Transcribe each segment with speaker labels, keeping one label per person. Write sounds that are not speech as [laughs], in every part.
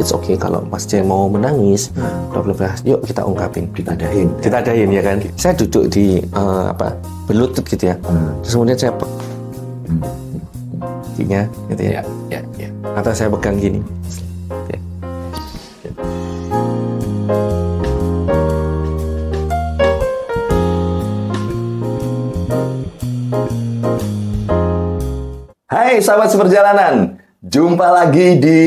Speaker 1: it's okay kalau pasien mau menangis problemnya yuk kita ungkapin
Speaker 2: kita adain
Speaker 1: kita adain ya kan saya duduk di eh, apa berlutut gitu ya
Speaker 2: Hmm.
Speaker 1: terus kemudian saya pe-
Speaker 2: Hmm.
Speaker 1: kakinya gitu ya
Speaker 2: ya ya ya
Speaker 1: atau saya pegang gini Ya.
Speaker 2: Hai sahabat seperjalanan, jumpa lagi di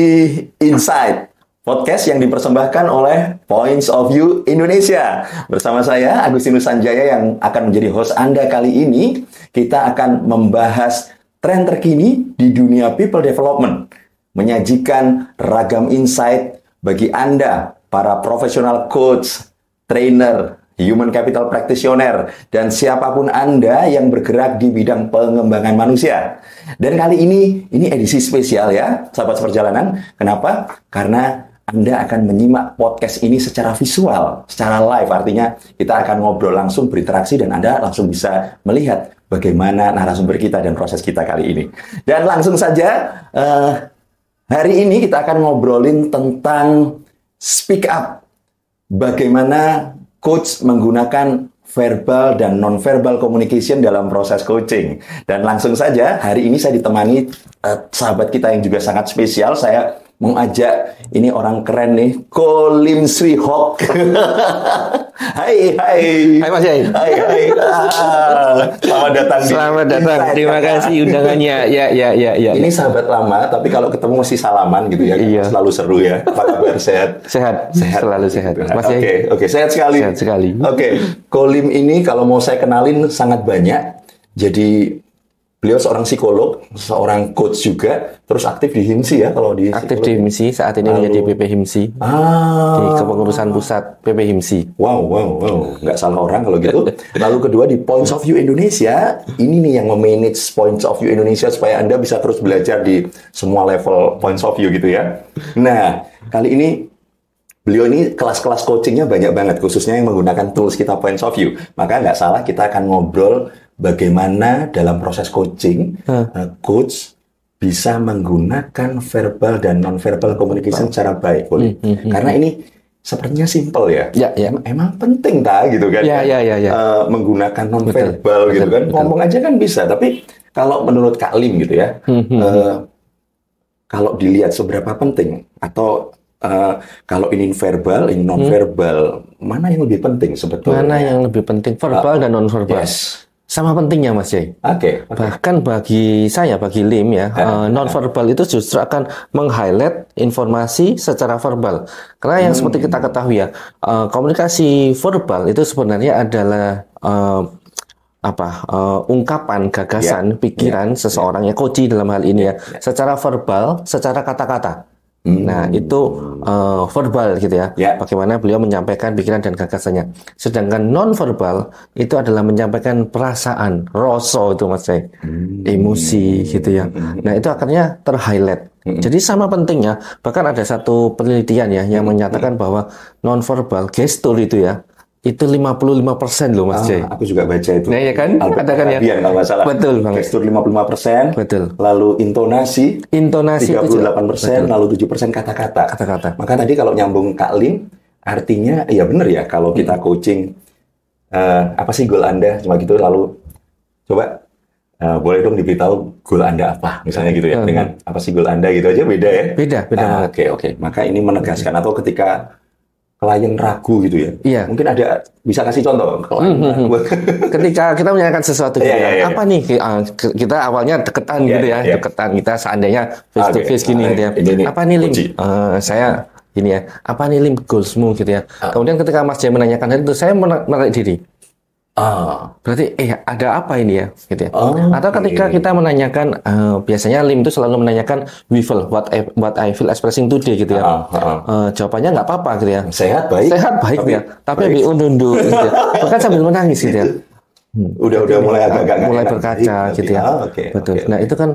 Speaker 2: Insight Podcast yang dipersembahkan oleh Points of View Indonesia Bersama saya Agustinus Sanjaya yang akan menjadi host Anda kali ini Kita akan membahas tren terkini di dunia people development Menyajikan ragam insight bagi Anda para profesional coach, trainer, human capital practitioner, dan siapapun Anda yang bergerak di bidang pengembangan manusia. Dan kali ini, ini edisi spesial ya, sahabat seperjalanan. Kenapa? Karena Anda akan menyimak podcast ini secara visual, secara live. Artinya kita akan ngobrol langsung, berinteraksi, dan Anda langsung bisa melihat bagaimana narasumber kita dan proses kita kali ini. Dan langsung saja, eh, hari ini kita akan ngobrolin tentang speak up bagaimana coach menggunakan verbal dan non-verbal communication dalam proses coaching. Dan langsung saja, hari ini saya ditemani eh, sahabat kita yang juga sangat spesial. Saya mau ajak, ini orang keren nih, Ko Lim Sui Hok. [laughs] hai, hai.
Speaker 1: Hai, Mas Yai.
Speaker 2: Hai, hai. Ah, Selamat datang. di
Speaker 1: selamat datang
Speaker 2: Insight,
Speaker 1: terima
Speaker 2: kakak.
Speaker 1: kasih undangannya ya ya ya ya
Speaker 2: Ini sahabat lama, tapi kalau ketemu masih salaman gitu ya.
Speaker 1: Iya.
Speaker 2: Selalu seru ya. Apa kabar, sehat?
Speaker 1: sehat, selalu sehat
Speaker 2: Oke,
Speaker 1: Mas
Speaker 2: oke,
Speaker 1: Yai,
Speaker 2: sehat sekali.
Speaker 1: Sehat sekali.
Speaker 2: Oke, Kolim ini kalau mau saya kenalin sangat banyak. Jadi beliau seorang psikolog, seorang coach juga, terus aktif di HIMSI ya kalau di
Speaker 1: aktif di
Speaker 2: psikolog.
Speaker 1: HIMSI saat ini
Speaker 2: Lalu-
Speaker 1: menjadi PP HIMSI di
Speaker 2: Ah.
Speaker 1: kepengurusan pusat PP HIMSI
Speaker 2: Wow, wow, wow. Nggak salah orang kalau gitu. Lalu kedua di Points of View Indonesia, ini nih yang memanage Points of View Indonesia supaya Anda bisa terus belajar di semua level Points of View gitu ya. Nah, kali ini beliau ini kelas-kelas coachingnya banyak banget, khususnya yang menggunakan tools kita Points of View. Maka nggak salah kita akan ngobrol bagaimana dalam proses coaching, eh, coach bisa menggunakan verbal dan non-verbal communication secara baik. Boleh. Karena ini sepertinya simple ya.
Speaker 1: Ya, ya.
Speaker 2: Em- Emang penting tak gitu kan?
Speaker 1: Ya, ya, ya, ya.
Speaker 2: Eh, menggunakan non-verbal
Speaker 1: Betul,
Speaker 2: gitu kan.
Speaker 1: betul.
Speaker 2: Ngomong aja kan bisa. Tapi kalau menurut Kak Lim gitu ya,
Speaker 1: Hmm,
Speaker 2: eh, kalau dilihat seberapa penting atau eh, kalau ini verbal, ini non-verbal, mana yang lebih penting sebetulnya?
Speaker 1: Hmm. mana yang lebih penting verbal dan non verbal
Speaker 2: Yes.
Speaker 1: sama pentingnya Mas Yai
Speaker 2: Oke. oke.
Speaker 1: Bahkan bagi saya, bagi Lim ya, non verbal itu justru akan meng-highlight informasi secara verbal. Karena yang seperti kita ketahui ya, eh, komunikasi verbal itu sebenarnya adalah eh, apa eh, ungkapan gagasan pikiran seseorang ya koji dalam hal ini ya secara verbal secara kata-kata nah
Speaker 2: Hmm.
Speaker 1: itu eh, verbal gitu ya
Speaker 2: Ya.
Speaker 1: bagaimana beliau menyampaikan pikiran dan gagasannya sedangkan non verbal itu adalah menyampaikan perasaan rasa itu mas Jai.
Speaker 2: Hmm.
Speaker 1: Hmm. emosi gitu ya nah itu akhirnya terhighlight
Speaker 2: Hmm.
Speaker 1: jadi sama pentingnya bahkan ada satu penelitian ya yang
Speaker 2: Hmm.
Speaker 1: menyatakan bahwa non verbal gestur itu ya itu 55% loh Mas Jai.
Speaker 2: Ah, aku juga baca itu.
Speaker 1: Nah, ya kan?
Speaker 2: Albert
Speaker 1: Ada kan ya?
Speaker 2: Mehrabian, kalau nggak salah.
Speaker 1: Betul banget.
Speaker 2: Gestur 55%.
Speaker 1: Betul.
Speaker 2: Lalu intonasi
Speaker 1: Intonasi itu
Speaker 2: 38 persen, lalu 7 persen kata-kata.
Speaker 1: Kata-kata.
Speaker 2: Maka tadi kalau nyambung Kak Lim, artinya ya benar ya kalau kita
Speaker 1: Hmm.
Speaker 2: coaching eh, apa sih goal Anda cuma gitu lalu coba eh, boleh dong diberitahu goal Anda apa misalnya gitu ya
Speaker 1: Hmm.
Speaker 2: dengan apa sih goal Anda gitu aja beda ya.
Speaker 1: beda beda
Speaker 2: Ah,
Speaker 1: banget. Hmm.
Speaker 2: Oke oke. Maka ini menegaskan atau ketika klien ragu gitu ya.
Speaker 1: Iya. Hmm,
Speaker 2: Mungkin ada bisa kasih contoh klien ragu.
Speaker 1: Ketika kita menanyakan sesuatu
Speaker 2: [laughs] Iya,
Speaker 1: gitu
Speaker 2: iya,
Speaker 1: kan,
Speaker 2: iya.
Speaker 1: apa nih Ah, ke- kita awalnya deketan
Speaker 2: Iya,
Speaker 1: gitu ya,
Speaker 2: iya.
Speaker 1: deketan kita seandainya face to
Speaker 2: Oke.
Speaker 1: face gini
Speaker 2: Ah,
Speaker 1: gitu ya.
Speaker 2: ini nih,
Speaker 1: apa nih Lim?
Speaker 2: uji.
Speaker 1: Eh, saya gini ya. Apa nih Lim goalsmu gitu ya. Kemudian ketika Mas Jai menanyakan hal itu saya mena- menarik diri.
Speaker 2: Ah,
Speaker 1: Berarti eh ada apa ini ya gitu ya.
Speaker 2: Oh,
Speaker 1: Atau ketika
Speaker 2: oke.
Speaker 1: kita menanyakan eh, biasanya Lim itu selalu menanyakan we feel what I, what I feel expressing today gitu ya.
Speaker 2: ah, ah.
Speaker 1: Eh, jawabannya nggak apa-apa gitu ya.
Speaker 2: Sehat baik.
Speaker 1: sehat baik
Speaker 2: Tapi
Speaker 1: ya tapi ambil undung gitu ya. bahkan sambil menangis gitu ya
Speaker 2: Udah udah mulai agak-agak nggak
Speaker 1: mulai
Speaker 2: enak.
Speaker 1: berkaca
Speaker 2: Baik,
Speaker 1: gitu
Speaker 2: tapi-
Speaker 1: ya
Speaker 2: ah, Oke.
Speaker 1: betul
Speaker 2: oke, Hmm.
Speaker 1: nah itu kan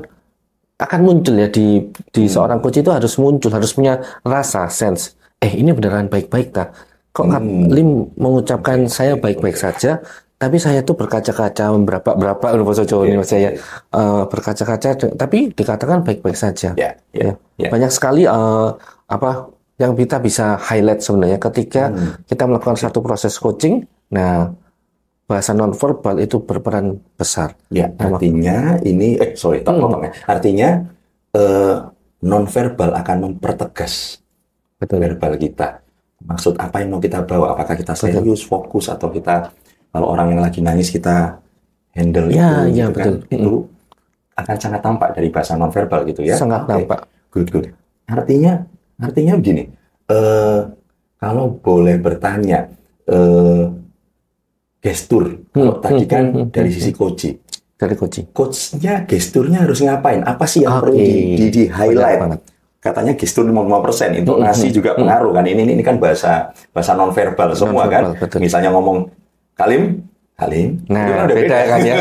Speaker 1: akan muncul ya di di seorang coach itu harus muncul harus punya rasa sense eh ini beneran baik-baik tak kok Kak
Speaker 2: Hmm.
Speaker 1: Lim mengucapkan saya baik-baik saja tapi saya tuh berkaca-kaca berapa berapa bahasa
Speaker 2: Iya,
Speaker 1: Jawa ini mas saya Eh, berkaca-kaca tapi dikatakan baik-baik saja
Speaker 2: Ya,
Speaker 1: Ya.
Speaker 2: ya, ya.
Speaker 1: Banyak sekali eh, apa yang kita bisa highlight sebenarnya
Speaker 2: Hmm.
Speaker 1: ketika kita melakukan satu proses coaching. Nah, bahasa nonverbal itu berperan besar.
Speaker 2: Ya, artinya ini eh sorry,
Speaker 1: Hmm.
Speaker 2: tak potong ya. Artinya eh, nonverbal akan mempertegas
Speaker 1: Betul.
Speaker 2: verbal kita. Maksud apa yang mau kita bawa? Apakah kita serius, fokus, atau kita kalau orang yang lagi nangis kita handle
Speaker 1: Ya,
Speaker 2: itu,
Speaker 1: ya,
Speaker 2: gitu kan.
Speaker 1: betul.
Speaker 2: Itu akan sangat tampak dari bahasa nonverbal gitu ya.
Speaker 1: Sangat
Speaker 2: Oke,
Speaker 1: nampak.
Speaker 2: Good, good. Artinya, artinya begini. eh kalau boleh bertanya, eh gestur. Kalau
Speaker 1: Hmm,
Speaker 2: tadi
Speaker 1: hmm,
Speaker 2: kan
Speaker 1: hmm, hmm,
Speaker 2: dari
Speaker 1: hmm.
Speaker 2: sisi coaching
Speaker 1: dari coaching.
Speaker 2: coachnya gesturnya harus ngapain? Apa sih yang
Speaker 1: Oke.
Speaker 2: perlu di, di- di
Speaker 1: Benar
Speaker 2: highlight?
Speaker 1: banget.
Speaker 2: Katanya gestur 55%, intonasi
Speaker 1: Mm-mm.
Speaker 2: juga pengaruh kan. Ini ini kan bahasa bahasa nonverbal semua
Speaker 1: Nonverbal,
Speaker 2: kan.
Speaker 1: betul.
Speaker 2: Misalnya ngomong Kalim, Kalim. itu
Speaker 1: Nah,
Speaker 2: kan udah
Speaker 1: beda, [laughs] kan
Speaker 2: [laughs]
Speaker 1: ya.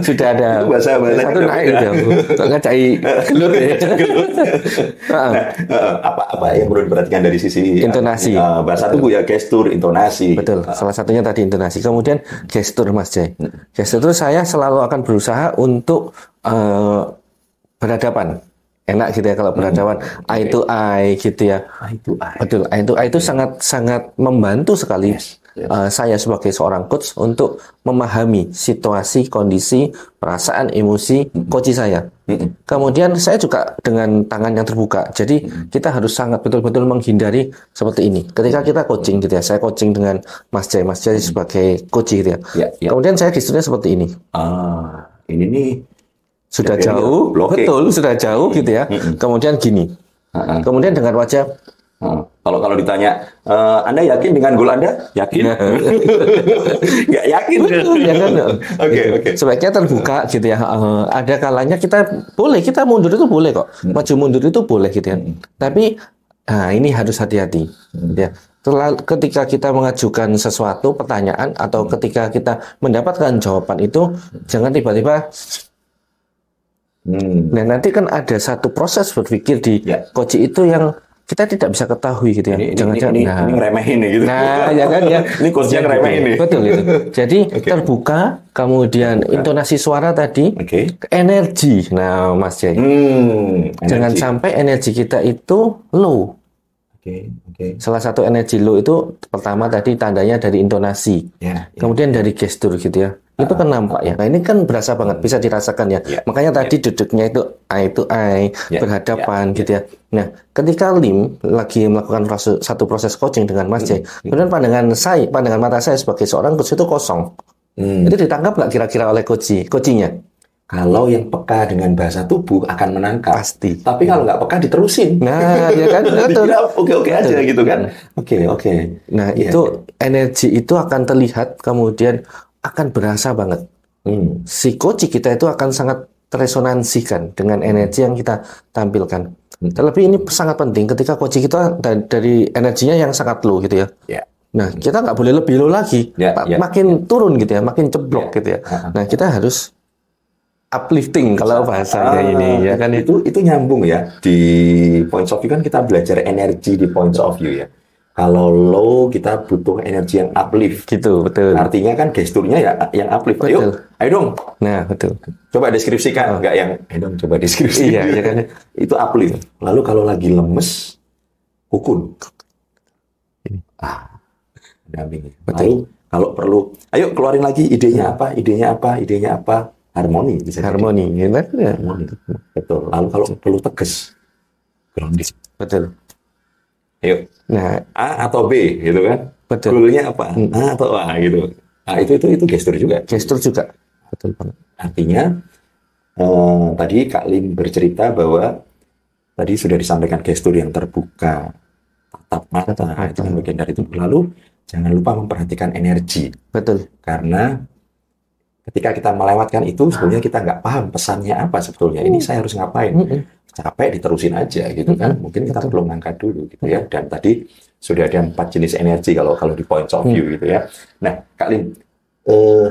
Speaker 1: Sudah ada.
Speaker 2: Itu bahasa-bahasa
Speaker 1: satu
Speaker 2: udah
Speaker 1: naik
Speaker 2: beda.
Speaker 1: udah. Kok ngacai gelur
Speaker 2: [laughs]
Speaker 1: ya. Heeh.
Speaker 2: Nah, eh, apa apa yang perlu diperhatikan dari sisi
Speaker 1: Ah. Intonasi.
Speaker 2: eh, bahasa tubuh ya gestur, intonasi. Ah,
Speaker 1: Betul, salah satunya tadi intonasi. Kemudian gestur Mas Jai. Gestur itu saya selalu akan berusaha untuk eh, berhadapan. Enak gitu ya
Speaker 2: Hmm.
Speaker 1: kalau berhadapan eye to eye gitu ya.
Speaker 2: Ah, itu ah.
Speaker 1: Betul, eye to eye itu sangat sangat membantu sekali
Speaker 2: Yes, yes.
Speaker 1: eh, saya sebagai seorang coach untuk memahami situasi, kondisi, perasaan, emosi
Speaker 2: Hmm.
Speaker 1: coach saya.
Speaker 2: Mm-mm.
Speaker 1: Kemudian saya juga dengan tangan yang terbuka. Jadi
Speaker 2: Hmm.
Speaker 1: kita harus sangat betul-betul menghindari seperti ini. Ketika kita coaching gitu ya, saya coaching dengan Mas Jai, Mas Jai sebagai coach gitu ya.
Speaker 2: Hmm. Ya, ya.
Speaker 1: Kemudian saya gesturnya seperti ini.
Speaker 2: Ah, ini nih.
Speaker 1: Sudah
Speaker 2: Ya, ya,
Speaker 1: jauh,
Speaker 2: blocking. Hmm.
Speaker 1: betul, sudah jauh gitu ya. Kemudian gini.
Speaker 2: Ah, ah.
Speaker 1: Kemudian dengan wajah
Speaker 2: Hmm. Kalau kalau ditanya, "Eh, Anda yakin dengan gol Anda? Yakin? [laughs] Nggak yakin.
Speaker 1: Nah. ya kan?
Speaker 2: Oke,
Speaker 1: Gitu.
Speaker 2: oke.
Speaker 1: Sebaiknya terbuka gitu ya. Eh, ada kalanya kita boleh kita mundur itu boleh kok.
Speaker 2: Hmm.
Speaker 1: Maju mundur itu boleh gitu ya. Tapi nah ini harus hati-hati.
Speaker 2: Hmm.
Speaker 1: Ya. Terlalu, ketika kita mengajukan sesuatu pertanyaan
Speaker 2: Hmm.
Speaker 1: atau ketika kita mendapatkan jawaban itu jangan tiba-tiba
Speaker 2: Hmm.
Speaker 1: nah nanti kan ada satu proses berpikir di
Speaker 2: Ya.
Speaker 1: coach itu yang kita tidak bisa ketahui gitu ya.
Speaker 2: Ini, ini,
Speaker 1: Jangan-jangan
Speaker 2: ini, ini,
Speaker 1: nah.
Speaker 2: ini ngeremehin nih, gitu.
Speaker 1: Nah, ya kan ya.
Speaker 2: [laughs] ini coachnya
Speaker 1: Ya,
Speaker 2: ngeremehin
Speaker 1: betul.
Speaker 2: nih. Oke.
Speaker 1: Betul itu. Jadi
Speaker 2: [laughs]
Speaker 1: terbuka, kemudian intonasi suara tadi, energi. Nah, Mas Jai,
Speaker 2: Hmm.
Speaker 1: jangan
Speaker 2: energi.
Speaker 1: sampai energi kita itu low.
Speaker 2: Oke, oke.
Speaker 1: Salah satu energi low itu pertama tadi tandanya dari intonasi,
Speaker 2: Ya. ya. Ah,
Speaker 1: kemudian dari gestur gitu ya. Itu kan nampak ya. Nah, ini kan berasa banget, bisa dirasakan ya.
Speaker 2: Hmm. Ya.
Speaker 1: Makanya tadi duduknya itu eye to eye,
Speaker 2: Ya.
Speaker 1: berhadapan gitu ya. Nah, ketika Lim lagi melakukan proses- satu proses coaching dengan Mas
Speaker 2: Hmm,
Speaker 1: Jai,
Speaker 2: ya.
Speaker 1: kemudian pandangan saya, pandangan mata saya sebagai seorang coach itu kosong.
Speaker 2: Hmm.
Speaker 1: Itu ditangkap nggak kira-kira oleh coach coachingnya?
Speaker 2: Kalau yang peka dengan bahasa tubuh akan menangkap.
Speaker 1: Pasti.
Speaker 2: Tapi kalau nggak peka diterusin.
Speaker 1: Nah, ya
Speaker 2: [laughs]
Speaker 1: kan?
Speaker 2: Iya.
Speaker 1: Betul.
Speaker 2: Dikira oke-oke aja gitu kan. Oke, oke.
Speaker 1: Nah,
Speaker 2: Iya,
Speaker 1: itu energi itu akan terlihat kemudian akan berasa banget.
Speaker 2: Hmm.
Speaker 1: Si coach kita itu akan sangat teresonansikan dengan energi yang kita tampilkan. Terlebih ini sangat penting ketika coach kita da- dari energinya yang sangat low gitu ya.
Speaker 2: Ya.
Speaker 1: Nah, kita nggak boleh lebih low lagi.
Speaker 2: Ya,
Speaker 1: Ma-
Speaker 2: ya.
Speaker 1: makin turun gitu ya, makin ceblok
Speaker 2: Ya.
Speaker 1: gitu ya. Nah, kita harus uplifting kalau bahasanya
Speaker 2: Ah,
Speaker 1: ini ya kan itu.
Speaker 2: itu itu nyambung ya di points of view kan kita belajar energi di points of view ya kalau low kita butuh energi yang uplift
Speaker 1: Gitu, betul.
Speaker 2: artinya kan gesturnya ya yang uplift ayo
Speaker 1: Betul.
Speaker 2: ayo dong
Speaker 1: Nah, betul.
Speaker 2: coba deskripsikan nggak yang ayo dong coba deskripsikan
Speaker 1: Iya, ya
Speaker 2: [laughs]
Speaker 1: kan.
Speaker 2: itu uplift lalu kalau lagi lemes ukun ah dampingi lalu kalau perlu ayo keluarin lagi idenya apa idenya apa idenya apa harmoni bisa jadi
Speaker 1: Harmoni, ya kan? Ya,
Speaker 2: harmoni. Betul. Lalu kalau perlu tegas, grounded.
Speaker 1: Betul.
Speaker 2: Ayo,
Speaker 1: Nah,
Speaker 2: A atau B gitu kan?
Speaker 1: Betul.
Speaker 2: Goalnya apa? A atau A gitu. Nah, itu itu itu gestur juga.
Speaker 1: gestur juga betul banget
Speaker 2: Artinya eh, tadi Kak Lim bercerita bahwa tadi sudah disampaikan gestur yang terbuka, tatap mata,
Speaker 1: Tatap mata.
Speaker 2: itu kan bagian dari itu. Lalu jangan lupa memperhatikan energi
Speaker 1: betul
Speaker 2: karena ketika kita melewatkan
Speaker 1: Ah.
Speaker 2: itu sebenarnya kita nggak paham pesannya apa sebetulnya.
Speaker 1: Hmm.
Speaker 2: Ini saya harus ngapain? capek diterusin aja gitu kan
Speaker 1: Mm-hmm.
Speaker 2: mungkin kita belum angkat dulu gitu ya dan tadi sudah ada empat jenis energi kalau kalau di points
Speaker 1: Mm.
Speaker 2: of view gitu ya nah kak Lim eh,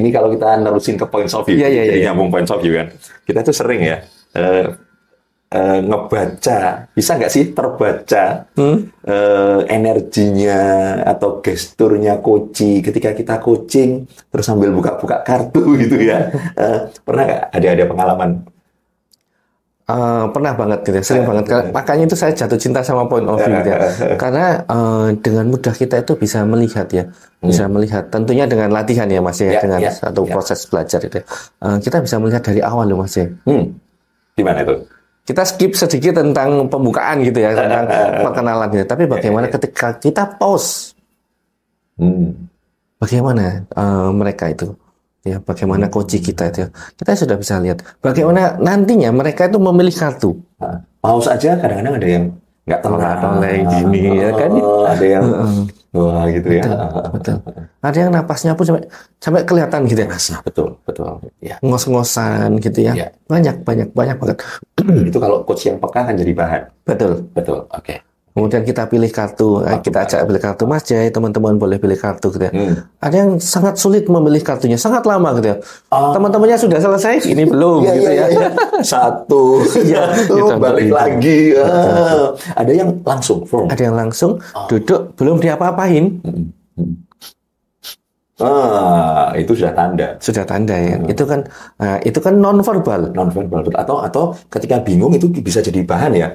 Speaker 2: ini kalau kita nerusin ke points of view
Speaker 1: Iya, iya,
Speaker 2: jadi
Speaker 1: iya.
Speaker 2: nyambung points of view kan kita tuh sering ya eh, eh, ngebaca bisa nggak sih terbaca
Speaker 1: Hmm?
Speaker 2: eh, energinya atau gesturnya koci ketika kita coaching terus sambil
Speaker 1: Mm-hmm.
Speaker 2: buka-buka kartu gitu ya Eh, pernah nggak ada ada pengalaman
Speaker 1: eh, pernah banget gitu ya, sering banget. Karena- Makanya itu saya jatuh cinta sama point of
Speaker 2: Eh,
Speaker 1: view [laughs] gitu ya. Karena eh, dengan mudah kita itu bisa melihat ya, bisa melihat. Tentunya dengan latihan ya Mas ya,
Speaker 2: Ya,
Speaker 1: dengan
Speaker 2: ya,
Speaker 1: satu
Speaker 2: ya.
Speaker 1: proses belajar gitu ya. Eh, kita bisa melihat dari awal loh Mas ya.
Speaker 2: Hmm. Gimana itu?
Speaker 1: Kita skip sedikit tentang pembukaan gitu ya, tentang [laughs] perkenalan gitu. Tapi [laughs] bagaimana ketika kita pause
Speaker 2: Hmm.
Speaker 1: bagaimana eh, mereka itu ya bagaimana coach kita itu ya. kita sudah bisa lihat bagaimana nantinya mereka itu memilih kartu
Speaker 2: Nah, Paus aja kadang-kadang ada yang nggak
Speaker 1: Nggak
Speaker 2: tenang.
Speaker 1: toleh gini, ya kan?
Speaker 2: Oh, Ada
Speaker 1: [laughs]
Speaker 2: yang wah gitu ya.
Speaker 1: betul ada yang napasnya pun sampai sampai kelihatan gitu ya
Speaker 2: Betul, betul. Ya.
Speaker 1: ngos-ngosan gitu ya
Speaker 2: Iya.
Speaker 1: banyak banyak banyak banget
Speaker 2: [clears throat] itu kalau coach yang peka akan jadi bahan.
Speaker 1: betul
Speaker 2: Betul. Oke.
Speaker 1: kemudian kita pilih kartu Eh, kita ajak pilih kartu mas Jai teman-teman boleh pilih kartu gitu ya
Speaker 2: Hmm.
Speaker 1: ada yang sangat sulit memilih kartunya sangat lama gitu ya
Speaker 2: Oh.
Speaker 1: teman-temannya sudah selesai ini belum
Speaker 2: Iya,
Speaker 1: gitu
Speaker 2: iya,
Speaker 1: ya
Speaker 2: iya.
Speaker 1: [laughs]
Speaker 2: Satu, [laughs] satu,
Speaker 1: gitu,
Speaker 2: balik
Speaker 1: gitu.
Speaker 2: lagi. Ah, ada yang langsung form.
Speaker 1: iya. ada yang langsung duduk belum diapa-apain
Speaker 2: Ah, itu sudah tanda
Speaker 1: sudah tanda ya.
Speaker 2: Hmm.
Speaker 1: Itu kan eh, itu kan non verbal.
Speaker 2: nonverbal betul. atau atau ketika bingung itu bisa jadi bahan ya.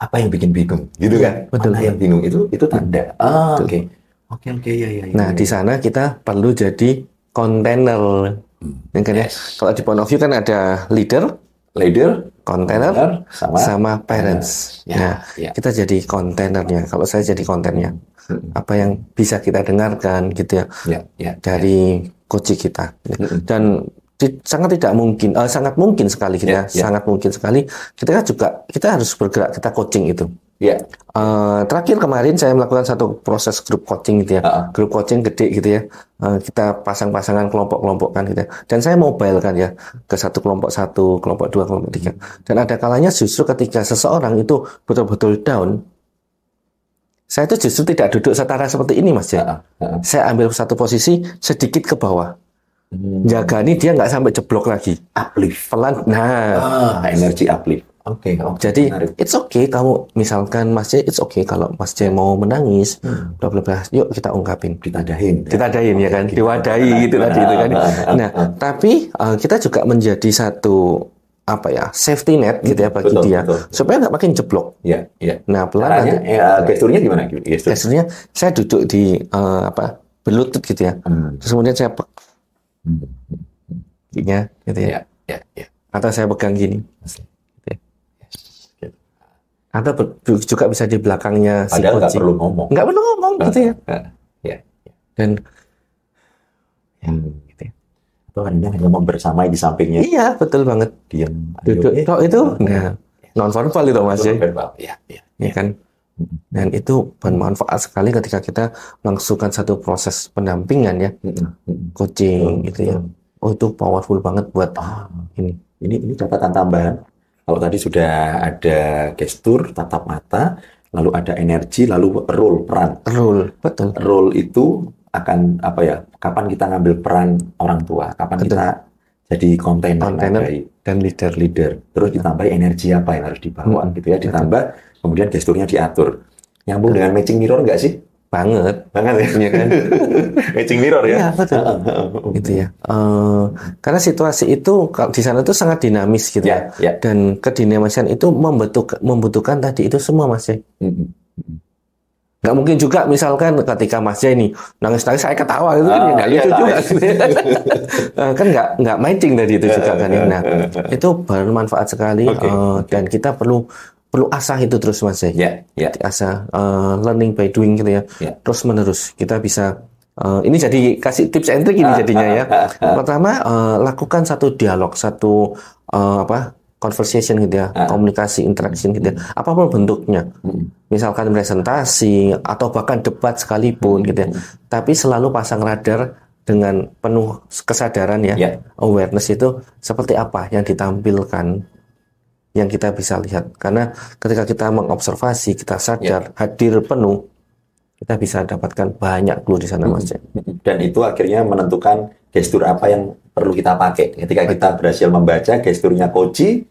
Speaker 2: Apa yang bikin bingung? Gitu kan?
Speaker 1: Betul.
Speaker 2: Mana yang bingung itu itu tanda. Ah, oke. Oke, oke, ya, ya, ya.
Speaker 1: Nah, di sana kita perlu jadi container.
Speaker 2: Hmm.
Speaker 1: Ya kan ya? Kalau di point of view kan ada leader,
Speaker 2: leader,
Speaker 1: container
Speaker 2: leader sama,
Speaker 1: sama parents.
Speaker 2: Ya,
Speaker 1: Nah,
Speaker 2: ya.
Speaker 1: kita jadi kontainernya. Kalau saya jadi kontennya.
Speaker 2: Mm-mm.
Speaker 1: Apa yang bisa kita dengarkan gitu ya
Speaker 2: ya, ya.
Speaker 1: dari coach kita.
Speaker 2: Mm-mm.
Speaker 1: Dan di- sangat tidak mungkin, eh, sangat mungkin sekali gitu
Speaker 2: Ya,
Speaker 1: ya,
Speaker 2: ya.
Speaker 1: sangat mungkin sekali. Kita kan juga kita harus bergerak, kita coaching itu.
Speaker 2: Ya.
Speaker 1: Eh, terakhir kemarin saya melakukan satu proses grup coaching gitu ya,
Speaker 2: Ah.
Speaker 1: grup coaching gede gitu ya. Eh, kita pasang-pasangan kelompok-kelompokkan gitu ya. Dan saya mobile kan ya ke satu kelompok satu, kelompok dua, kelompok tiga. Dan ada kalanya justru ketika seseorang itu betul-betul down, saya itu justru tidak duduk setara seperti ini mas ya.
Speaker 2: Ah, ah, ah.
Speaker 1: Saya ambil satu posisi sedikit ke bawah,
Speaker 2: Hmm.
Speaker 1: jagani dia nggak sampai jeblok lagi,
Speaker 2: Uplift.
Speaker 1: pelan. Nah,
Speaker 2: Ah, energi uplift. Oke, Ya, oke.
Speaker 1: Jadi
Speaker 2: menarik.
Speaker 1: it's okay kamu misalkan Mas J, it's okay kalau Mas J mau menangis,
Speaker 2: Hmm.
Speaker 1: bla bla bla. Yuk kita ungkapin.
Speaker 2: ditadahin. ya.
Speaker 1: Ditadain ya kan, diwadahi gitu tadi itu kan. Nah, tapi eh, kita juga menjadi satu apa ya safety net gitu ya bagi
Speaker 2: Hmm, Betul,
Speaker 1: dia
Speaker 2: betul.
Speaker 1: supaya nggak makin jeblok.
Speaker 2: Ya, ya.
Speaker 1: Nah pelan
Speaker 2: Caranya,
Speaker 1: nanti.
Speaker 2: eh, gesturnya gimana? Gestur.
Speaker 1: Biasanya saya duduk di eh, apa berlutut gitu ya.
Speaker 2: Hmm.
Speaker 1: Terus kemudian saya pe- kakinya gitu ya.
Speaker 2: Ya, ya, ya.
Speaker 1: Atau saya pegang gini.
Speaker 2: Asli.
Speaker 1: Gitu ya. Atau ber- juga bisa di belakangnya si
Speaker 2: Padahal nggak
Speaker 1: coaching.
Speaker 2: perlu ngomong.
Speaker 1: nggak perlu ngomong gitu ya
Speaker 2: Ah, Ya.
Speaker 1: dan
Speaker 2: Hmm.
Speaker 1: Gitu ya.
Speaker 2: Atau kadang hanya membersamai di sampingnya.
Speaker 1: iya betul banget
Speaker 2: Diam.
Speaker 1: duduk
Speaker 2: Ayo. eh.
Speaker 1: Kalau itu nah non verbal itu mas ya
Speaker 2: Verbal. Ya, ya.
Speaker 1: ya kan dan itu bermanfaat sekali ketika kita melangsungkan satu proses pendampingan ya
Speaker 2: Mm-mm.
Speaker 1: coaching gitu ya oh itu powerful banget buat
Speaker 2: Eh, Ah,
Speaker 1: ini
Speaker 2: ini ini catatan tambahan. Kalau tadi sudah ada gestur, tatap mata, lalu ada energi, lalu role peran.
Speaker 1: rule betul
Speaker 2: Role itu akan apa ya? Kapan kita ngambil peran orang tua? Kapan
Speaker 1: Betul.
Speaker 2: kita jadi kontainer,
Speaker 1: Kontainer.
Speaker 2: baik,
Speaker 1: dan leader
Speaker 2: leader? Terus
Speaker 1: Iya.
Speaker 2: ditambah energi apa yang harus dibawa
Speaker 1: Mm-mm.
Speaker 2: gitu ya? Ditambah kemudian gesturnya diatur. Nyambung dengan matching mirror nggak sih?
Speaker 1: banget [laughs]
Speaker 2: Banget ya?
Speaker 1: ya kan
Speaker 2: matching mirror ya?
Speaker 1: iya betul
Speaker 2: [laughs]
Speaker 1: gitu ya Eh, karena situasi itu kalau di sana itu sangat dinamis gitu
Speaker 2: Ya,
Speaker 1: ya
Speaker 2: ya.
Speaker 1: dan kedinamisan itu membutuhkan membutuhkan tadi itu semua mas ya
Speaker 2: Mm-mm.
Speaker 1: Nggak mungkin juga misalkan ketika Mas Jai nih nangis-nangis saya ketawa itu kan
Speaker 2: Ah,
Speaker 1: ya nggak
Speaker 2: iya,
Speaker 1: lucu
Speaker 2: tahu.
Speaker 1: juga. [laughs] Eh, kan nggak nggak matching tadi itu juga kan. ya. Nah itu bermanfaat sekali
Speaker 2: Oke,
Speaker 1: eh, dan kita perlu perlu asah itu terus Mas Jai.
Speaker 2: Ya, ya.
Speaker 1: Asah eh, learning by doing gitu ya.
Speaker 2: Ya.
Speaker 1: Terus menerus kita bisa eh, ini jadi kasih tips and trick
Speaker 2: Ah,
Speaker 1: ini jadinya ya. Pertama eh, lakukan satu dialog satu eh, apa conversation gitu ya,
Speaker 2: Ah.
Speaker 1: komunikasi interaction gitu ya. Apapun bentuknya
Speaker 2: Mm-mm.
Speaker 1: misalkan presentasi atau bahkan debat sekalipun gitu ya.
Speaker 2: hmm,
Speaker 1: Tapi selalu pasang radar dengan penuh kesadaran ya,
Speaker 2: Ya.
Speaker 1: awareness itu seperti apa yang ditampilkan yang kita bisa lihat. Karena ketika kita mengobservasi, kita
Speaker 2: Ya.
Speaker 1: sadar, hadir penuh, kita bisa dapatkan banyak clue di sana Mas. ya. Jack.
Speaker 2: hmm. dan itu akhirnya menentukan gestur apa yang perlu kita pakai. Ketika kita berhasil membaca gesturnya koji,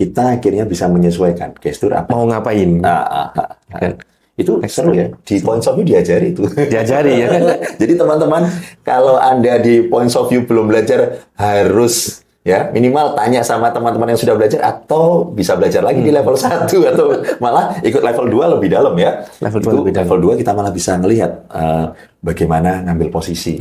Speaker 2: kita akhirnya bisa menyesuaikan gestur apa.
Speaker 1: Mau ngapain?
Speaker 2: Nah, ah, ah, ah.
Speaker 1: Kan
Speaker 2: itu seru ya. Di points of view diajari itu. [laughs]
Speaker 1: diajari ya kan.
Speaker 2: Jadi teman-teman, kalau Anda di points of view belum belajar, harus ya minimal tanya sama teman-teman yang sudah belajar atau bisa belajar lagi di
Speaker 1: Hmm.
Speaker 2: level 1 atau malah ikut level 2 lebih dalam ya
Speaker 1: Level
Speaker 2: Itu
Speaker 1: dua lebih dalam.
Speaker 2: level 2 kita malah bisa ngelihat eh, bagaimana ngambil posisi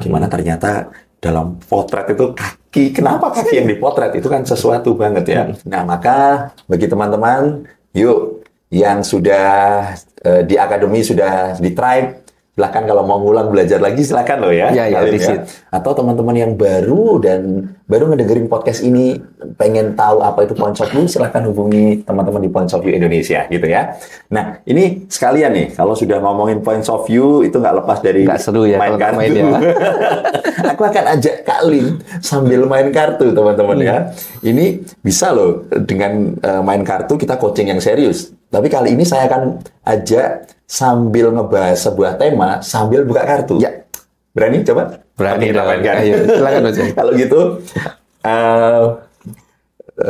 Speaker 2: bagaimana ternyata dalam potret itu kaki kenapa kaki yang dipotret itu kan sesuatu banget ya nah maka bagi teman-teman yuk yang sudah eh, di akademi sudah di tribe silahkan kalau mau ngulang belajar lagi silahkan loh ya
Speaker 1: Ya, ya,
Speaker 2: Salim
Speaker 1: visit.
Speaker 2: atau teman-teman yang baru dan baru ngedengerin podcast ini pengen tahu apa itu Points of View silahkan hubungi teman-teman di Points of View Indonesia gitu ya nah ini sekalian nih kalau sudah ngomongin Points of View itu nggak lepas dari
Speaker 1: Nggak seru ya kalau
Speaker 2: main
Speaker 1: nggak
Speaker 2: kartu
Speaker 1: main ya.
Speaker 2: [laughs] aku akan ajak Kak Lin sambil main kartu teman-teman
Speaker 1: Iya.
Speaker 2: ya ini bisa loh dengan eh, main kartu kita coaching yang serius tapi kali ini saya akan ajak sambil ngebahas sebuah tema sambil buka kartu
Speaker 1: Ya.
Speaker 2: berani coba
Speaker 1: Berani
Speaker 2: kita
Speaker 1: dong.
Speaker 2: mainkan.
Speaker 1: Ayo, silakan, Mas.
Speaker 2: [laughs] Kalau gitu, eh,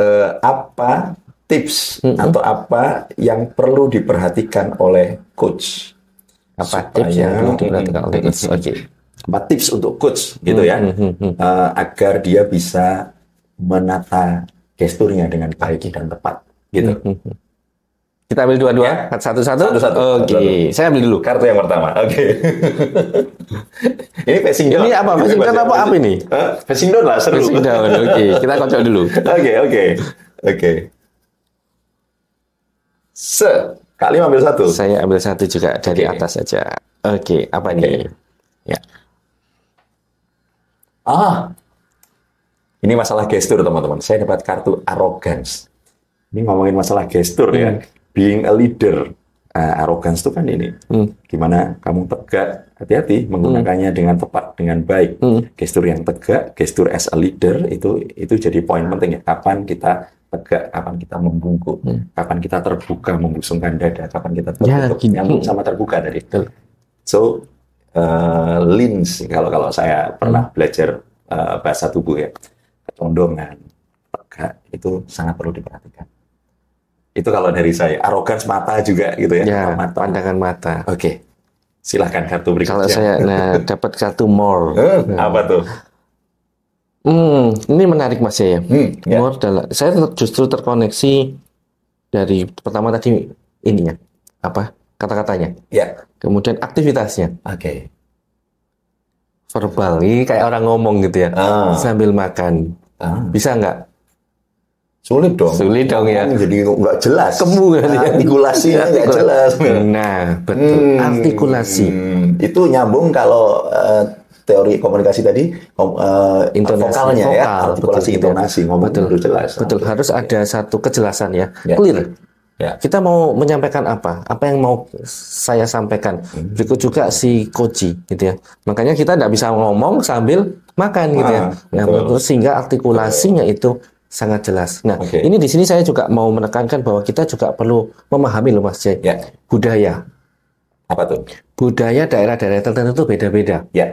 Speaker 2: eh, apa tips atau apa yang perlu diperhatikan oleh coach?
Speaker 1: Apa tips yang perlu diperhatikan oleh coach? gitu. Oke.
Speaker 2: Apa tips untuk coach gitu ya, Eh, agar dia bisa menata gesturnya dengan baik dan tepat gitu.
Speaker 1: Kita ambil dua-dua, satu-satu.
Speaker 2: Ya. Satu-satu.
Speaker 1: Oke,
Speaker 2: Satu-satu.
Speaker 1: saya ambil dulu.
Speaker 2: Kartu yang pertama, oke. [laughs] ini passing down.
Speaker 1: Ini apa? Passing down apa- apa ini?
Speaker 2: Eh, Passing down lah, seru.
Speaker 1: Pressing down. Oke, kita kocok dulu.
Speaker 2: Oke, oke. Oke. Se. Kak Lim ambil satu.
Speaker 1: Saya ambil satu juga dari
Speaker 2: Oke.
Speaker 1: atas saja. Oke, apa ini? Ya.
Speaker 2: Ah. Ini masalah gestur, teman-teman. Saya dapat kartu arrogance. Ini ngomongin masalah gestur ya. Being a leader. Ah, arrogance itu kan ini. Gimana kamu tegak, hati-hati menggunakannya dengan tepat, dengan baik.
Speaker 1: Hmm,
Speaker 2: Gestur yang tegak, gestur as a leader itu itu jadi poin penting ya. Kapan kita tegak, kapan kita membungkuk, kapan kita terbuka membusungkan dada, kapan kita
Speaker 1: Hmm. Ya,
Speaker 2: tertutup.
Speaker 1: gini.
Speaker 2: Nyambung sama terbuka tadi.
Speaker 1: Betul.
Speaker 2: So uh, lins kalau kalau saya
Speaker 1: Hmm.
Speaker 2: pernah belajar uh, bahasa tubuh ya ketondongan tegak itu sangat perlu diperhatikan. Itu kalau dari saya arogan mata juga gitu ya.
Speaker 1: Ya,
Speaker 2: mata. Oke,
Speaker 1: pandangan mata.
Speaker 2: silahkan kartu
Speaker 1: Kalau
Speaker 2: berikutnya.
Speaker 1: saya nah
Speaker 2: [laughs]
Speaker 1: dapat kartu more.
Speaker 2: Eh, apa tuh?
Speaker 1: Hmm, ini menarik Mas ya.
Speaker 2: Hmm, ya.
Speaker 1: More dalam- saya ter- justru terkoneksi dari pertama tadi ininya apa kata-katanya,
Speaker 2: Ya,
Speaker 1: kemudian aktivitasnya
Speaker 2: Oke.
Speaker 1: verbal ini kayak orang ngomong gitu ya
Speaker 2: Ah,
Speaker 1: sambil makan
Speaker 2: ah,
Speaker 1: bisa nggak?
Speaker 2: Sulit dong. Kan
Speaker 1: Sulit dong, ya.
Speaker 2: Jadi nggak jelas.
Speaker 1: Kemu kan, ya.
Speaker 2: Artikulasinya nggak
Speaker 1: Artikula-
Speaker 2: jelas.
Speaker 1: Nah betul
Speaker 2: Hmm.
Speaker 1: artikulasi
Speaker 2: Hmm. Itu nyambung kalau eh, teori komunikasi tadi kom, eh,
Speaker 1: Intonasi,
Speaker 2: vokalnya ya,
Speaker 1: vokal,
Speaker 2: artikulasi
Speaker 1: betul.
Speaker 2: intonasi ngomong
Speaker 1: Betul.
Speaker 2: itu jelas.
Speaker 1: betul harus ada satu kejelasan ya
Speaker 2: Ya.
Speaker 1: clear.
Speaker 2: Ya.
Speaker 1: Kita mau menyampaikan apa? Apa yang mau saya sampaikan?
Speaker 2: Hmm.
Speaker 1: Berikut juga si koji gitu ya. Makanya kita tidak bisa ngomong sambil makan gitu ya.
Speaker 2: Ah,
Speaker 1: Nah, betul.
Speaker 2: betul.
Speaker 1: sehingga artikulasinya itu sangat jelas. Nah,
Speaker 2: Oke.
Speaker 1: ini di sini saya juga mau menekankan bahwa kita juga perlu memahami loh Mas Jai,
Speaker 2: Ya,
Speaker 1: budaya.
Speaker 2: apa tuh?
Speaker 1: Budaya daerah-daerah tertentu itu beda-beda.
Speaker 2: Ya,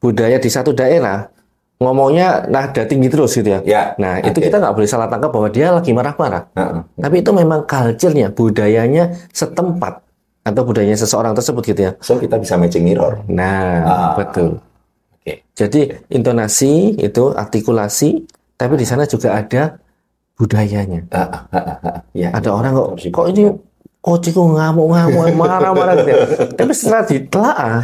Speaker 1: Budaya di satu daerah ngomongnya nada tinggi terus gitu ya.
Speaker 2: ya.
Speaker 1: Nah, itu
Speaker 2: Oke.
Speaker 1: kita nggak boleh salah tangkap bahwa dia lagi marah-marah.
Speaker 2: Heeh.
Speaker 1: Tapi itu memang culture-nya, budayanya setempat atau budayanya seseorang tersebut gitu ya.
Speaker 2: So kita bisa matching mirror. Ah.
Speaker 1: Nah, betul.
Speaker 2: Oke.
Speaker 1: Jadi intonasi itu artikulasi, tapi di sana juga ada budayanya.
Speaker 2: Ah, ah, ah, ah, ah. Ya.
Speaker 1: Ada orang kok
Speaker 2: Harus
Speaker 1: kok ini kociku ngamuk-ngamuk marah-marah gitu ya. Tapi setelah ditelaah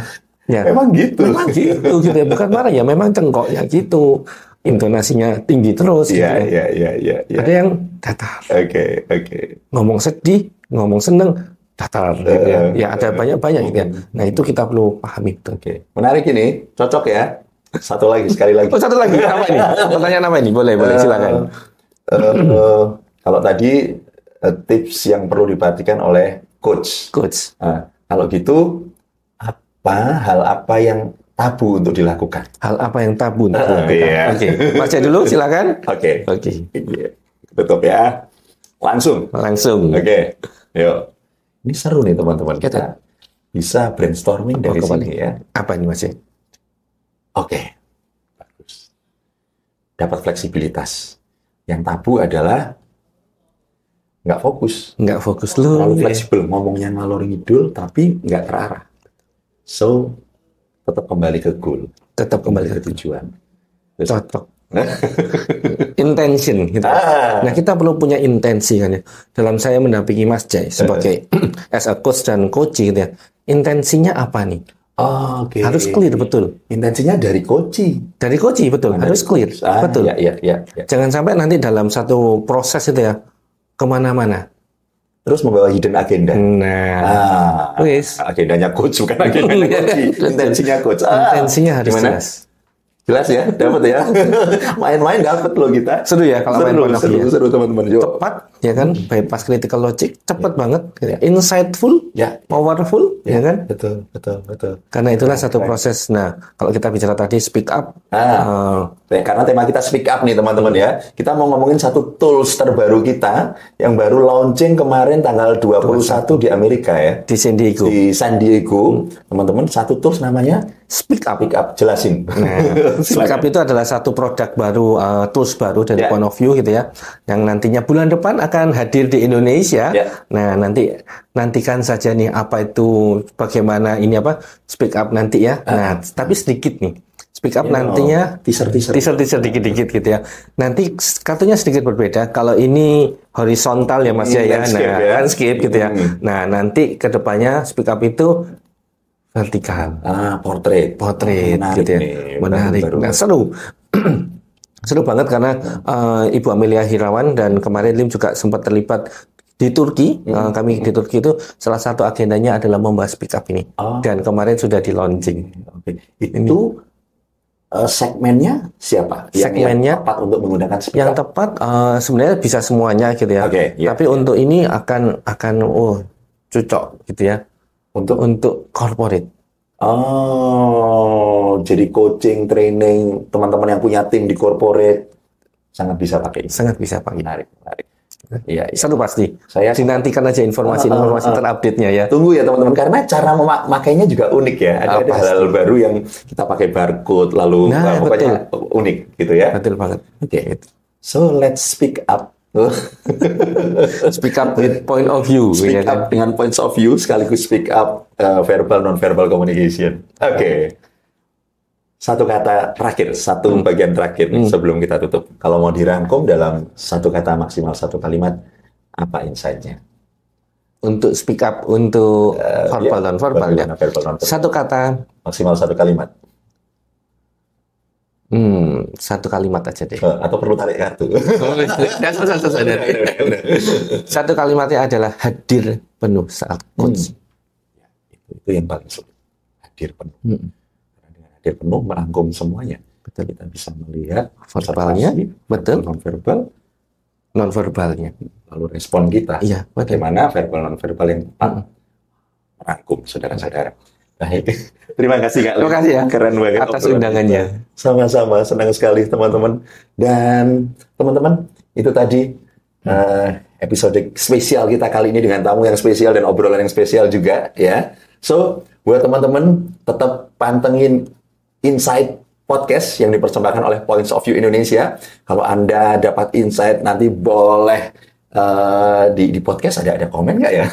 Speaker 1: ya
Speaker 2: Memang gitu.
Speaker 1: memang gitu gitu ya. Bukan marah ya, memang cengkoknya gitu. Intonasinya tinggi terus gitu
Speaker 2: Iya,
Speaker 1: ya.
Speaker 2: iya, iya, iya, iya.
Speaker 1: Ada yang datar.
Speaker 2: Oke, oke.
Speaker 1: ngomong sedih, ngomong seneng, datar gitu ya.
Speaker 2: Eh,
Speaker 1: Ya ada banyak-banyak gitu ya.
Speaker 2: Hmm.
Speaker 1: Nah, itu kita perlu pahami betul.
Speaker 2: Oke. Menarik ini. Cocok ya. Satu lagi, sekali lagi.
Speaker 1: Oh, satu lagi
Speaker 2: Iya.
Speaker 1: apa ini? Pertanyaan apa ini? Boleh, boleh, silakan.
Speaker 2: Eh, eh, kalau tadi eh, tips yang perlu diperhatikan oleh coach.
Speaker 1: Coach.
Speaker 2: Nah, kalau gitu apa hal apa yang tabu untuk dilakukan?
Speaker 1: Hal apa yang tabu? untuk
Speaker 2: Eh,
Speaker 1: dilakukan?
Speaker 2: iya.
Speaker 1: Oke, Mas Jai dulu silakan.
Speaker 2: Oke.
Speaker 1: Oke,
Speaker 2: Tutup ya. Langsung.
Speaker 1: langsung.
Speaker 2: Oke. Yuk. Ini seru nih teman-teman.
Speaker 1: Kita
Speaker 2: Kita bisa brainstorming dari
Speaker 1: kembali.
Speaker 2: sini ya.
Speaker 1: Apa ini Mas Jai?
Speaker 2: Oke. Bagus. Dapat fleksibilitas. Yang tabu adalah nggak fokus.
Speaker 1: Nggak fokus lu.
Speaker 2: terlalu
Speaker 1: ya.
Speaker 2: fleksibel ngomongnya ngalor ngidul tapi nggak terarah so tetap kembali ke goal
Speaker 1: Tetap kembali
Speaker 2: kembali
Speaker 1: ke
Speaker 2: ke tujuan [laughs]
Speaker 1: cocok. intention gitu.
Speaker 2: Ah.
Speaker 1: Nah, kita perlu punya intensi kan ya. Dalam saya mendampingi Mas Jai sebagai
Speaker 2: Eh.
Speaker 1: [clears throat] as a coach dan coach gitu ya. Intensinya apa nih?
Speaker 2: Oke.
Speaker 1: Harus clear
Speaker 2: iya.
Speaker 1: betul.
Speaker 2: Intensinya dari koci.
Speaker 1: Dari coach betul, harus iya. clear.
Speaker 2: Ah,
Speaker 1: betul.
Speaker 2: Ya, ya, ya, ya.
Speaker 1: Jangan sampai nanti dalam satu proses itu ya kemana-mana.
Speaker 2: Terus membawa hidden agenda.
Speaker 1: Nah,
Speaker 2: Ah,
Speaker 1: Wis.
Speaker 2: agendanya coach [laughs] bukan agendanya koci. Iya. Intensinya coach. Ah,
Speaker 1: intensinya harus
Speaker 2: gimana?
Speaker 1: jelas.
Speaker 2: Jelas ya, dapat ya. [laughs] Main-main dapat loh kita.
Speaker 1: Seru ya kalau main
Speaker 2: seru,
Speaker 1: Monopoly
Speaker 2: seru,
Speaker 1: ya.
Speaker 2: seru teman-teman. Yo.
Speaker 1: Tepat ya kan, bypass critical logic, cepat banget, gitu ya. insightful,
Speaker 2: Ya.
Speaker 1: powerful, ya kan?
Speaker 2: Betul, betul, betul.
Speaker 1: Karena itulah satu proses. Nah, kalau kita bicara tadi speak up, eh,
Speaker 2: Ah, ya, karena tema kita speak up nih teman-teman ya. Kita mau ngomongin satu tools terbaru kita yang baru launching kemarin tanggal 21 di Amerika ya.
Speaker 1: di San Diego,
Speaker 2: Di San Diego, teman-teman satu tools namanya
Speaker 1: speak up.
Speaker 2: speak up. Jelasin.
Speaker 1: Nah,
Speaker 2: [laughs] Nah,
Speaker 1: Speak up itu adalah satu produk baru, eh, tools baru dari
Speaker 2: Ya.
Speaker 1: Point of View gitu ya, yang nantinya bulan depan akan hadir di Indonesia.
Speaker 2: Ya.
Speaker 1: Nah, nanti nantikan saja nih apa itu, bagaimana ini apa speak up nanti ya.
Speaker 2: Ah.
Speaker 1: Nah, tapi sedikit nih, speak
Speaker 2: Ya.
Speaker 1: up nantinya
Speaker 2: teaser-teaser.
Speaker 1: teaser-teaser dikit-dikit gitu ya. Nanti kartunya sedikit berbeda. Kalau ini horizontal ya Mas ya,
Speaker 2: Hmm,
Speaker 1: ya.
Speaker 2: landscape
Speaker 1: Nah,
Speaker 2: ya.
Speaker 1: landscape gitu ya.
Speaker 2: Hmm.
Speaker 1: Nah, nanti ke depannya speak up itu vertikal,
Speaker 2: Ah, portrait.
Speaker 1: portrait
Speaker 2: Menarik
Speaker 1: gitu ya.
Speaker 2: nih,
Speaker 1: Menarik.
Speaker 2: baru-
Speaker 1: Nah, seru. [clears throat] seru banget karena eh, Ibu Amelia Hirawan dan kemarin Lim juga sempat terlibat di Turki.
Speaker 2: Hmm.
Speaker 1: Eh, kami di Turki itu salah satu agendanya adalah membahas speak up ini.
Speaker 2: Oh.
Speaker 1: Dan kemarin sudah di launching.
Speaker 2: Oke. Itu eh, segmennya siapa? Yang-
Speaker 1: Segmennya-
Speaker 2: yang tepat untuk menggunakan speak
Speaker 1: Yang
Speaker 2: up.
Speaker 1: tepat eh, sebenarnya bisa semuanya gitu ya.
Speaker 2: Oke, ya.
Speaker 1: Tapi untuk ini akan akan oh cocok gitu ya
Speaker 2: Untuk
Speaker 1: untuk corporate.
Speaker 2: Oh, jadi coaching, training, teman-teman yang punya tim di corporate sangat bisa pakai.
Speaker 1: Sangat bisa pakai.
Speaker 2: Menarik, menarik. Iya, iya.
Speaker 1: Satu pasti.
Speaker 2: Saya
Speaker 1: Dinantikan aja
Speaker 2: Ah,
Speaker 1: informasi-informasi terupdate-nya ya.
Speaker 2: tunggu ya teman-teman karena cara memakainya juga unik ya.
Speaker 1: Ah,
Speaker 2: Ada, ada
Speaker 1: pasti.
Speaker 2: hal-hal baru yang kita pakai barcode lalu
Speaker 1: Nah,
Speaker 2: wah, pokoknya unik gitu ya.
Speaker 1: Betul banget.
Speaker 2: Oke. So let's speak up.
Speaker 1: Speak up with point of view.
Speaker 2: speak
Speaker 1: ya kan?
Speaker 2: up dengan points of view sekaligus speak up uh, verbal non verbal communication. Oke. Satu kata terakhir,
Speaker 1: Hmm.
Speaker 2: satu bagian terakhir nih sebelum kita tutup. Kalau mau dirangkum dalam satu kata maksimal satu kalimat apa insight-nya?
Speaker 1: Untuk speak up untuk
Speaker 2: Eh,
Speaker 1: verbal dan verbal ya.
Speaker 2: Verbal non verbal.
Speaker 1: Satu kata,
Speaker 2: Maksimal satu kalimat.
Speaker 1: hmm, satu kalimat aja deh.
Speaker 2: Eh, atau perlu tarik
Speaker 1: [laughs]
Speaker 2: kartu. Udah, udah, udah.
Speaker 1: Satu kalimatnya adalah hadir penuh saat
Speaker 2: Hmm.
Speaker 1: coach.
Speaker 2: Itu yang paling sulit. Hadir penuh.
Speaker 1: Hmm.
Speaker 2: Karena dengan hadir penuh merangkum semuanya.
Speaker 1: Betul.
Speaker 2: Kita bisa melihat
Speaker 1: Verbalnya,
Speaker 2: observasi,
Speaker 1: betul.
Speaker 2: non verbal
Speaker 1: Non verbalnya.
Speaker 2: lalu respon kita.
Speaker 1: Iya, betul.
Speaker 2: Bagaimana verbal non verbal yang tepat merangkum saudara-saudara. Baik. [laughs] Terima kasih Kak. Lin.
Speaker 1: Terima kasih ya.
Speaker 2: Keren banget
Speaker 1: Atas
Speaker 2: obrolan
Speaker 1: undangannya.
Speaker 2: kita. Sama-sama, senang sekali teman-teman. Dan teman-teman, itu tadi eh, episode spesial kita kali ini dengan tamu yang spesial dan obrolan yang spesial juga ya. So, buat teman-teman tetap pantengin Insight Podcast yang dipersembahkan oleh Points of View Indonesia. Kalau Anda dapat insight nanti boleh eh, di, di podcast ada ada komen nggak ya?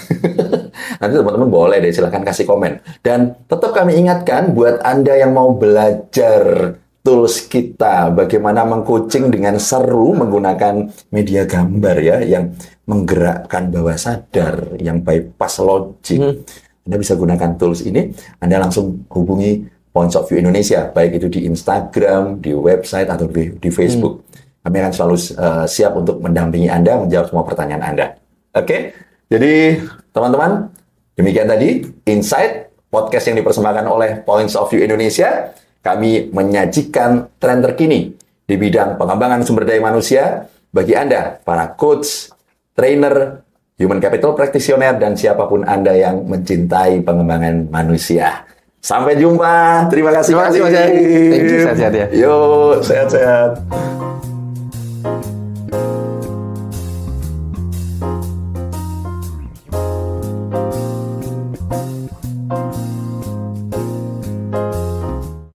Speaker 2: [laughs] nanti teman-teman boleh deh silahkan kasih komen. Dan tetap kami ingatkan buat Anda yang mau belajar tools kita bagaimana mengcoaching dengan seru menggunakan media gambar ya yang menggerakkan bawah sadar yang bypass logic. Anda bisa gunakan tools ini, Anda langsung hubungi Points of View Indonesia, baik itu di Instagram, di website, atau di, di Facebook. Kami akan selalu eh, siap untuk mendampingi Anda, menjawab semua pertanyaan Anda. Oke, jadi teman-teman, demikian tadi Insight, podcast yang dipersembahkan oleh Points of View Indonesia. Kami menyajikan tren terkini di bidang pengembangan sumber daya manusia bagi Anda, para coach, trainer, human capital practitioner, dan siapapun Anda yang mencintai pengembangan manusia. Sampai jumpa. Terima kasih.
Speaker 1: Terima kasih,
Speaker 2: Kak
Speaker 1: Mas Yai.
Speaker 2: Lim.
Speaker 1: Thank you, sehat-sehat ya.
Speaker 2: Yuk, sehat-sehat.